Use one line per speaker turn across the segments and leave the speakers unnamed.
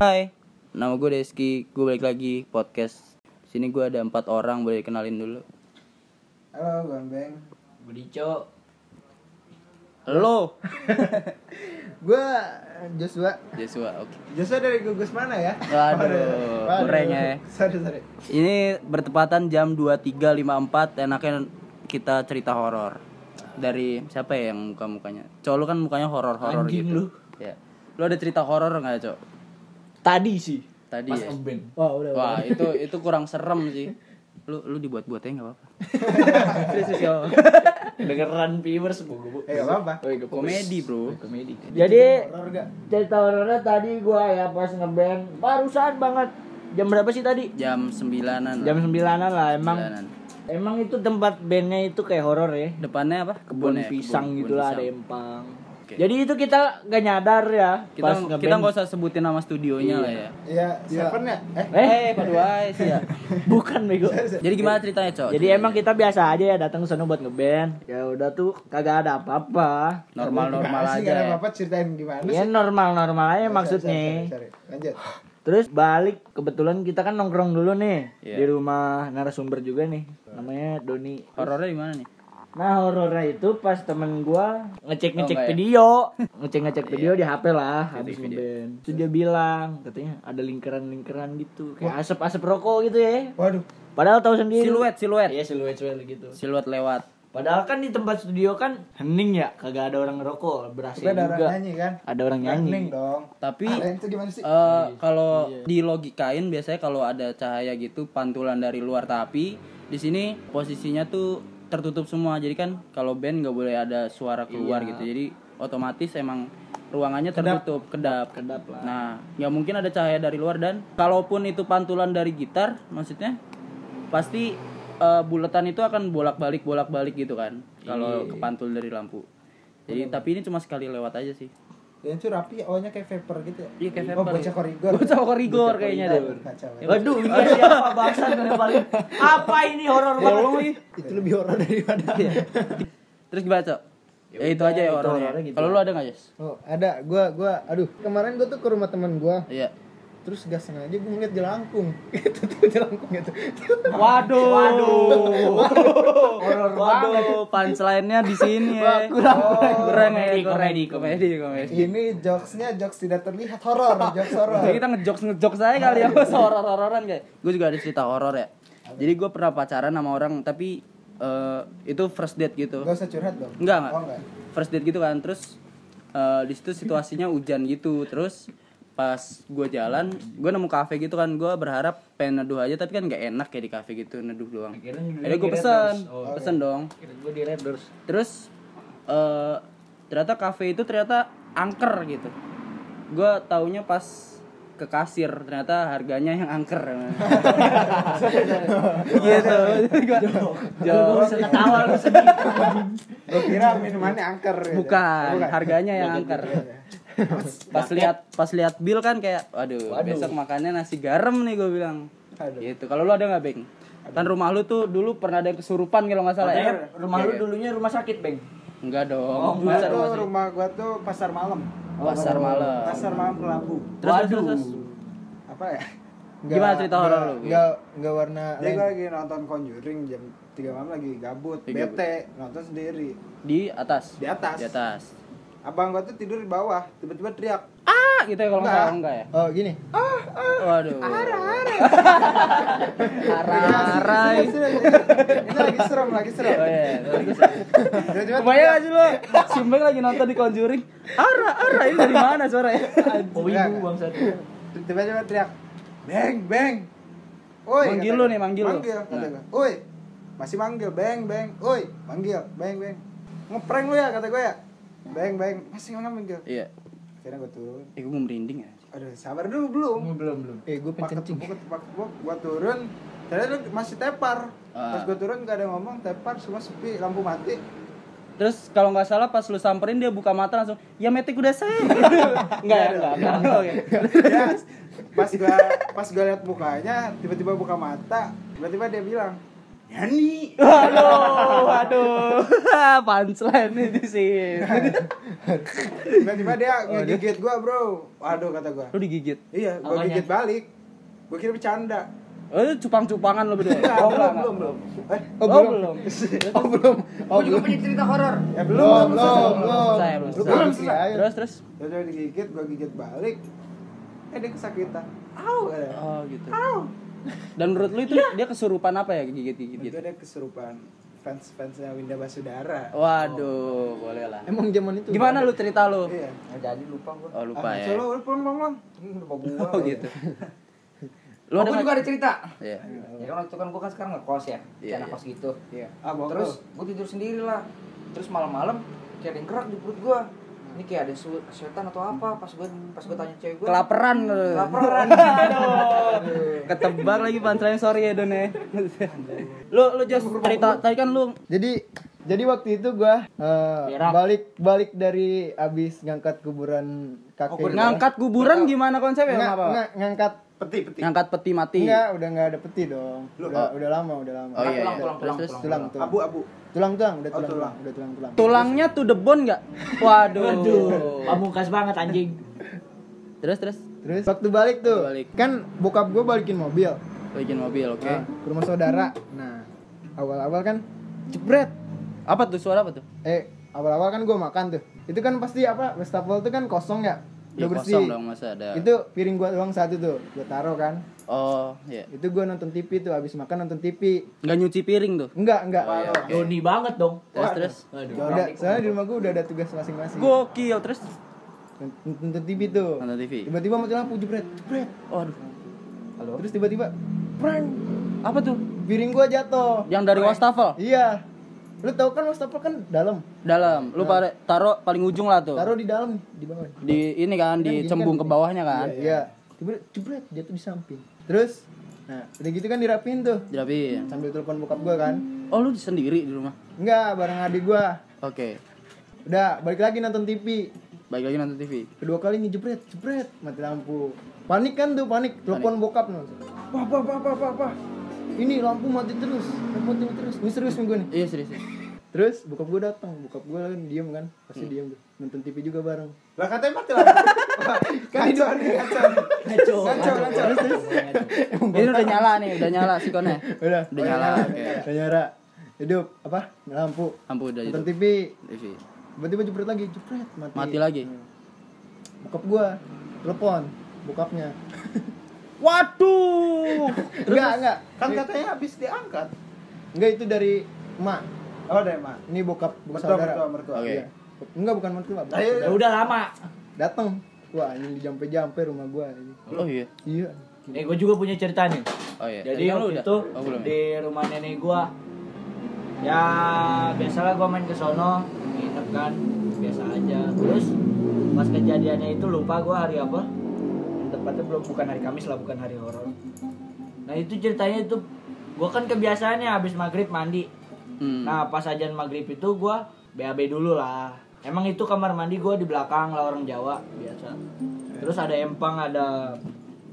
Hai, nama gue Deski, gue balik lagi podcast. Sini gue ada empat orang, boleh kenalin dulu.
Halo, gue Ambeng.
Budico. Lo,
Gue Joshua.
Joshua. Oke.
Joshua dari gugus mana ya?
Waduh, goreng ya.
Sorry, sorry.
Ini bertepatan jam 23.54, enaknya kita cerita horor. Dari siapa ya yang muka-mukanya? Cok, lu kan mukanya horor-horor
Anjing
gitu.
lu.
Ya. Lu ada cerita horor nggak, Cok?
Tadi sih.
Tadi
Pas
ya.
ngeband.
Wah udah.
Wah, itu itu kurang serem sih. Lu lu dibuat-buatnya nggak apa-apa.
Dengeran viewers bu. bu.
Eh, gak apa-apa.
Komedi, Bro.
Komedi.
Jadi
Horor gak?
cerita horornya tadi gua ya pas ngeband barusan banget. Jam berapa sih tadi?
Jam 9-an.
Jam sembilanan lah emang.
Jalanan.
Emang itu tempat bandnya itu kayak horor ya.
Depannya apa?
Kebun
ya?
pisang
Kebun-
gitu
kebun
lah ada
pisang.
empang.
Oke.
Jadi itu kita gak nyadar ya
Kita
pas ngeband.
kita nggak usah sebutin nama studionya lah ya.
Iya, seven ya? Eh,
Eh,
Eh, padu aja sih ya.
bukan bego.
Jadi gimana ceritanya, Cok?
Jadi emang kita biasa aja ya datang ke sana buat ngeband. Ya udah tuh kagak ada apa-apa.
normal-normal
gimana
aja.
sih? Gak ada
ya.
apa-apa, ceritain gimana
Ya
sih?
normal-normal aja
Sorry,
maksudnya.
sorry, sorry, sorry. Lanjut.
Terus balik kebetulan kita kan nongkrong dulu nih
Iya.
di rumah narasumber juga nih namanya Doni.
Horornya di mana nih?
Nah horornya itu pas temen gua ngecek ngecek
Oh, enggak ya?
video, ngecek ngecek video di HP lah habis
video.
ngeband. Terus dia bilang katanya ada lingkaran lingkaran gitu kayak asap asap rokok gitu ya.
Waduh,
Padahal tahu sendiri.
Siluet, siluet.
Iya siluet siluet gitu.
Siluet lewat.
Padahal kan di tempat studio kan hening ya kagak ada orang ngerokok berasa
kita ada orang
juga.
nyanyi kan?
Ada orang nyanyi.
Neng dong.
Tapi
Lain itu gimana sih?
eh kalau dilogikain biasanya kalau ada cahaya gitu pantulan dari luar tapi di sini posisinya tuh tertutup semua jadi kan kalau band nggak boleh ada suara keluar gitu jadi otomatis emang ruangannya tertutup kedap
Kedap lah.
nah nggak mungkin ada cahaya dari luar dan kalaupun itu pantulan dari gitar maksudnya pasti eh, buletan itu akan bolak balik bolak balik gitu kan kalau kepantul dari lampu jadi tapi ini cuma sekali lewat aja sih
Dan itu rapi, ohnya kayak vapor gitu ya?
Iya, kayak
Oh,
vapor,
bocah
iya.
korigor.
bocah korigor kayaknya deh
Kacau. ya.
Waduh, iya, ini apa bahasan yang paling apa ini
Ya
horor banget?
Itu lebih horor daripada.
Terus gimana, Cok? Ya itu aja ya orangnya.
orangnya gitu.
Kalau lu ada enggak, Yes?
Oh, ada. Gua, gua, aduh. Kemarin gua tuh ke rumah teman gua.
Iya.
Terus gak sengaja gua ngeliat jelangkung. Itu tuh jelangkung itu.
Waduh, waduh, horor banget.
Waduh, punchline-nya di sini ya. Kurang ya,
Komedi,
kurang.
komedi,
komedi, komedi.
Ini jokesnya jokes tidak terlihat horor, jokes horor.
Jadi kita ngejokes ngejokes aja kali ya, Mas, horor-hororan kayak. Gue juga ada cerita horor ya. Jadi gue pernah pacaran sama orang tapi eh, itu first date gitu.
Gak usah curhat dong.
Enggak, enggak.
Oh, enggak.
First date gitu kan. Terus eh, di situ situasinya hujan gitu. Terus pas gue jalan, gue nemu kafe gitu kan. Gue berharap pengen neduh aja tapi kan nggak enak ya di kafe gitu neduh doang. Akhirnya oh, gue pesen, pesen dong.
Gue di Raptors.
Terus eh ternyata kafe itu ternyata angker gitu. Gue taunya pas ke kasir ternyata harganya yang angker gitu Gua-
Gue bisa ketawa lu sedih.
Gua kira minumannya angker. gitu.
Iya, Bukan, Iya, harganya yang angker. pas lihat pas lihat bill kan kayak aduh besok makannya nasi garam nih gue bilang.
Aduh.
Gitu. Kalau lu ada nggak, Beng? Kan rumah lu tuh dulu pernah ada yang kesurupan kalau nggak salah ya?
Eh, Rumah lu dulunya rumah sakit, Beng.
Enggak dong.
Gua
pasar
tuh
masih-
rumah gua tuh pasar malam.
pasar malam.
Oh, Pasar malam kelabu.
Terus, terus, terus.
Apa ya?
Gimana cerita horor lu?
Enggak enggak warna Jadi gua lagi nonton Conjuring jam 3 malam lagi gabut, bete, nonton sendiri.
Di atas.
Di atas.
Di atas.
Abang gua tuh tidur di bawah, tiba-tiba teriak.
Ah, gitu ya kalau nggak salah enggak ya?
Oh, gini.
Waduh. Arah-arah.
Ini lagi serem, lagi serem.
Oh iya, lagi
Tiba-tiba
Kebayang gak sih lo? Sumbeng lagi nonton di Conjuring. Ara, ara ini dari mana suaranya?
Oh ibu bang satu.
tiba-tiba teriak beng beng Oi,
Manggil
kata
lu
gua.
nih, manggil lu.
Manggil, kata
Nah.
gua. Oi, masih manggil, beng, beng. Oi, manggil, beng, beng. Ngeprank lu ya, kata gue ya. Beng, beng. Masih mana manggil?
Iya.
Akhirnya gue turun.
Eh, gue mau merinding ya.
Aduh, sabar dulu, belum.
Belum belum.
Eh, gue paket tepuk, tepuk, tepuk. Gue turun. Ternyata lu masih tepar.
Ah.
Pas gue turun, gak ada yang ngomong, tepar, semua sepi, lampu mati.
Terus kalau nggak salah pas lu samperin dia buka mata langsung, ya metik udah saya. Enggak ya, enggak. enggak. Oke.
ya, pas gue pas gue lihat mukanya, tiba-tiba buka mata, tiba-tiba dia bilang, Yani
Aduh, aduh. Punchline nih di sini.
tiba-tiba dia ngegigit gua bro waduh kata gua
Lu digigit.
iya gua
Apanya?
gigit balik gua kira bercanda
Eh, cupang-cupangan lu berdua.
Enggak,
Oh,
belum,
enggak, enggak.
belum, belum. Eh,
Oh, belum.
Oh belum. Oh
Gue juga punya cerita horor.
ya belum,
belum.
belum,
Belum. Belum.
Saya belum.
Lu
selesai.
belum
sih,
selesai.
ayo.
Terus terus.
Terus dia Ya digigit, gua gigit balik. Eh dia kesakitan. Au. katanya.
Oh, gitu. Dan menurut lu itu dia kesurupan apa ya gigit-gigit
Itu
gitu?
ada keserupaan fans-fansnya Winda Basudara.
Waduh, boleh lah.
Emang zaman itu.
Gimana lu cerita lu?
Iya.
Nggak jadi lupa gua.
Oh, lupa
Ah,
ya.
Solo, udah pulang, pulang, pulang.
Hmm, Lupa gua.
Oh, gitu. Lu ada
Lu
nggak-
juga ada cerita.
Iya.
Ya kan waktu kan gue kan sekarang ngekos ya,
Iya,
yeah,
iya.
kos gitu.
Iya. Ah, mau
Terus gue tidur sendiri lah. Terus malam-malam kayak ada yang kerak di perut gue. Ini kayak ada su- setan atau apa pas gue pas gue tanya cewek gue.
Kelaperan. eh. lu.
Kelaperan.
Ketebak lagi punchline sorry ya Don ya. Lu lu just cerita tadi kan lu
Jadi jadi waktu itu gua eh,
Berak.
balik balik dari abis ngangkat kuburan kakek. gua.
ngangkat Oh, kuburan gimana konsepnya?
Nggak,
Apa?
nggak, ngangkat
peti, peti.
Ngangkat peti mati.
Enggak, udah nggak ada peti dong. Udah, udah lama, udah lama.
Oh, iya, iya.
Pulang, pulang, pulang,
Terus, terus,
pulang.
Tulang, tulang.
Abu, abu.
Tulang, tulang, udah
Oh,
tulang,
tulang.
tulang, udah tulang, tulang.
Tulangnya tuh debon nggak? Waduh.
Pamungkas banget anjing.
Terus terus
Terus waktu balik tuh,
Waktu balik.
kan bokap gua balikin mobil.
bikin mobil, oke.
Nah, ke rumah saudara. Nah, awal-awal kan jebret.
Apa tuh suara apa tuh?
Eh, awal-awal kan gua makan tuh. Itu kan pasti apa? Wastafel tuh kan kosong ya? Udah
Ya,
bersih. Gitu.
kosong dong masa ada.
Itu piring gua doang satu tuh, gua taruh kan.
Oh, iya.
Itu gua nonton TV tuh habis makan nonton TV.
Nggak nyuci piring tuh.
Enggak, enggak.
Oh, iya, oke.
Doni banget dong.
Terus terus.
Udah, soalnya di rumah gua udah ada tugas masing-masing.
Gokil terus
Nont- Nonton TV tuh.
nonton TV.
Tiba-tiba mati lampu jebret, jebret.
Waduh.
Terus tiba-tiba prank
Apa tuh?
piring gua jatuh.
Yang dari wastafel
Iya. Lu tau kan wastafel kan dalam.
dalam. Lu pada taruh paling ujung lah tuh.
Taruh di dalam nih, di bawah.
Di ini kan di
gini
cembung ke
kan
bawahnya kan.
Iya. iya. Tiba-tiba jebret jatuh di samping. Terus nah, udah gitu kan dirapiin tuh.
Dirapiin.
Sambil telepon bokap gua kan.
Oh, lu sendiri di rumah.
Enggak, bareng adik gua.
Oke.
Udah, balik lagi nonton TV.
Baik lagi nonton TV.
Kedua kali ngejebret, jebret, mati lampu. Panik kan tuh, panik. Telepon bokap no.
Wah, wah, wah, wah, wah, wah.
Ini lampu mati terus, lampu mati terus. Ini serius nih gua nih.
Iya, serius. serius.
Terus bokap gue datang, bokap gue kan diem kan,
Hmm.
pasti diem tuh. Nonton TV juga bareng.
Lah katanya mati lampu. Kan itu ada kacau.
Ngaco.
Kacau, kacau.
Ini udah nyala nih, udah nyala sikonnya.
Udah,
Udah nyala. Oke.
udah nyara. Hidup apa? Lampu.
Lampu udah gitu. itu.
Nonton TV.
TV.
Tiba-tiba jepret lagi, jepret mati. Hmm.
Mati lagi.
Bokap gue telepon bokapnya.
Waduh.
Enggak, enggak.
Kan katanya habis diangkat.
Enggak itu dari emak.
Oh, deh, Mak.
Ini bokap bokap
Mertua,
saudara.
mertua, mertua. Ah, iya,
Oke.
Iya. Enggak bukan mertua, bokap
Ayo,
saudara.
Ya udah lama.
Datang. Wah, ini jampe-jampe rumah gue ini.
Oh iya.
Iya.
Eh, gue juga punya cerita nih.
Oh iya. Tadi
Jadi
kan lu
waktu
udah-
itu
oh, belum. ya?
di rumah nenek gua ya biasalah gua main ke sono nginep kan biasa aja terus pas kejadiannya itu lupa gua hari apa Yang tepatnya belum bukan hari Kamis lah bukan hari horor nah itu ceritanya itu gua kan kebiasaannya habis maghrib mandi
Hmm.
nah pas ajan maghrib itu gua BAB dulu lah emang itu kamar mandi gua di belakang lah orang Jawa biasa terus ada empang ada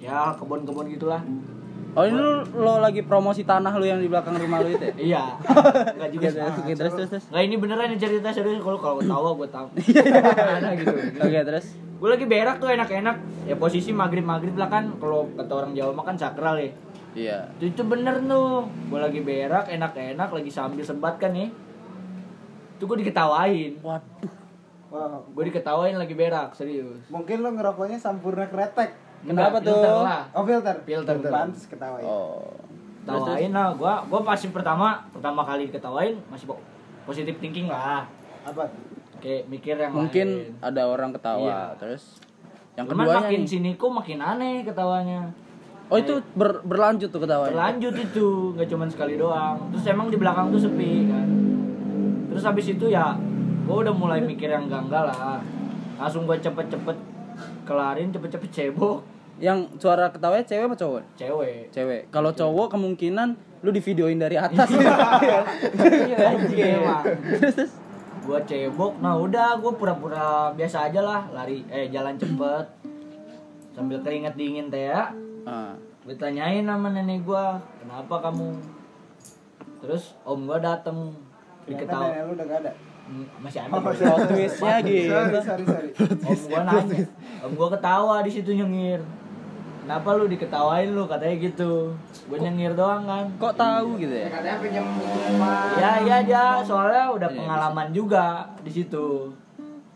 ya kebun-kebun gitulah
Oh ini lu lo lagi promosi tanah lu yang di belakang rumah lu itu ya?
Iya. Enggak juga
Oke,
sih.
oke, terus terus terus.
Enggak ini beneran ini cerita serius kalau kalau tahu gue tahu.
Iya,
Ada gitu.
Oke, terus.
Gue lagi berak tuh enak-enak. Ya posisi maghrib-maghrib lah kan kalau kata orang Jawa makan sakral ya.
Iya.
Itu, itu bener tuh. Gue lagi berak enak-enak lagi sambil sebat kan nih. Itu gue diketawain.
Waduh.
Wah,
Gue diketawain lagi berak serius.
mungkin lo ngerokoknya sampurna kretek.
Kenapa
Enggak, filter
tuh?
lah.
Oh, filter.
Filter.
Pantes ketawa ya.
Oh. Terus, terus.
Ketawain lah gue. Gue pasti pertama pertama kali diketawain masih po- positive thinking lah.
Apa?
Kayak mikir yang lain.
Mungkin ada orang ketawa.
Iya.
Terus yang
Cuman
keduanya
makin
nih.
sini kok makin aneh ketawanya.
Oh itu ber- berlanjut tuh ketawanya.
Berlanjut itu, nggak cuman sekali doang. Terus emang di belakang tuh sepi kan. Terus habis itu ya gua udah mulai mikir yang enggak-enggak lah. Langsung gua cepet-cepet kelarin, cepet-cepet cebok
Yang suara ketawanya cewek apa cowok?
cewek.
Cewek. Kalau cowok kemungkinan lu divideoin dari atas.
Anjing Iya, kan, emang. Gua cebok, nah udah gua pura-pura biasa aja lah lari eh jalan cepet sambil keringat dingin teh ya.
Ah.
Ditanyain sama nenek gua, kenapa kamu terus om gua dateng
Ternyata
diketahui
nenek lu udah gak ada.
masih ada
Oh,
Bro.
masih
Plot twistnya gitu.
Sorry, sorry, sorry.
om gua nanya om gua ketawa di situ nyengir kenapa lu diketawain lu katanya gitu gua nyengir doang kan
Kok tahu gitu ya?
katanya pinjam rumah
ya iya dia soalnya udah
Iya,
pengalaman juga di situ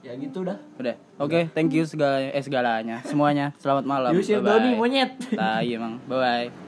ya gitu dah
Udah. Oke, thank you segala eh segalanya, semuanya. Selamat malam.
Yusir
Bye-bye. iya,
Doni monyet
Tai emang. Bye bye.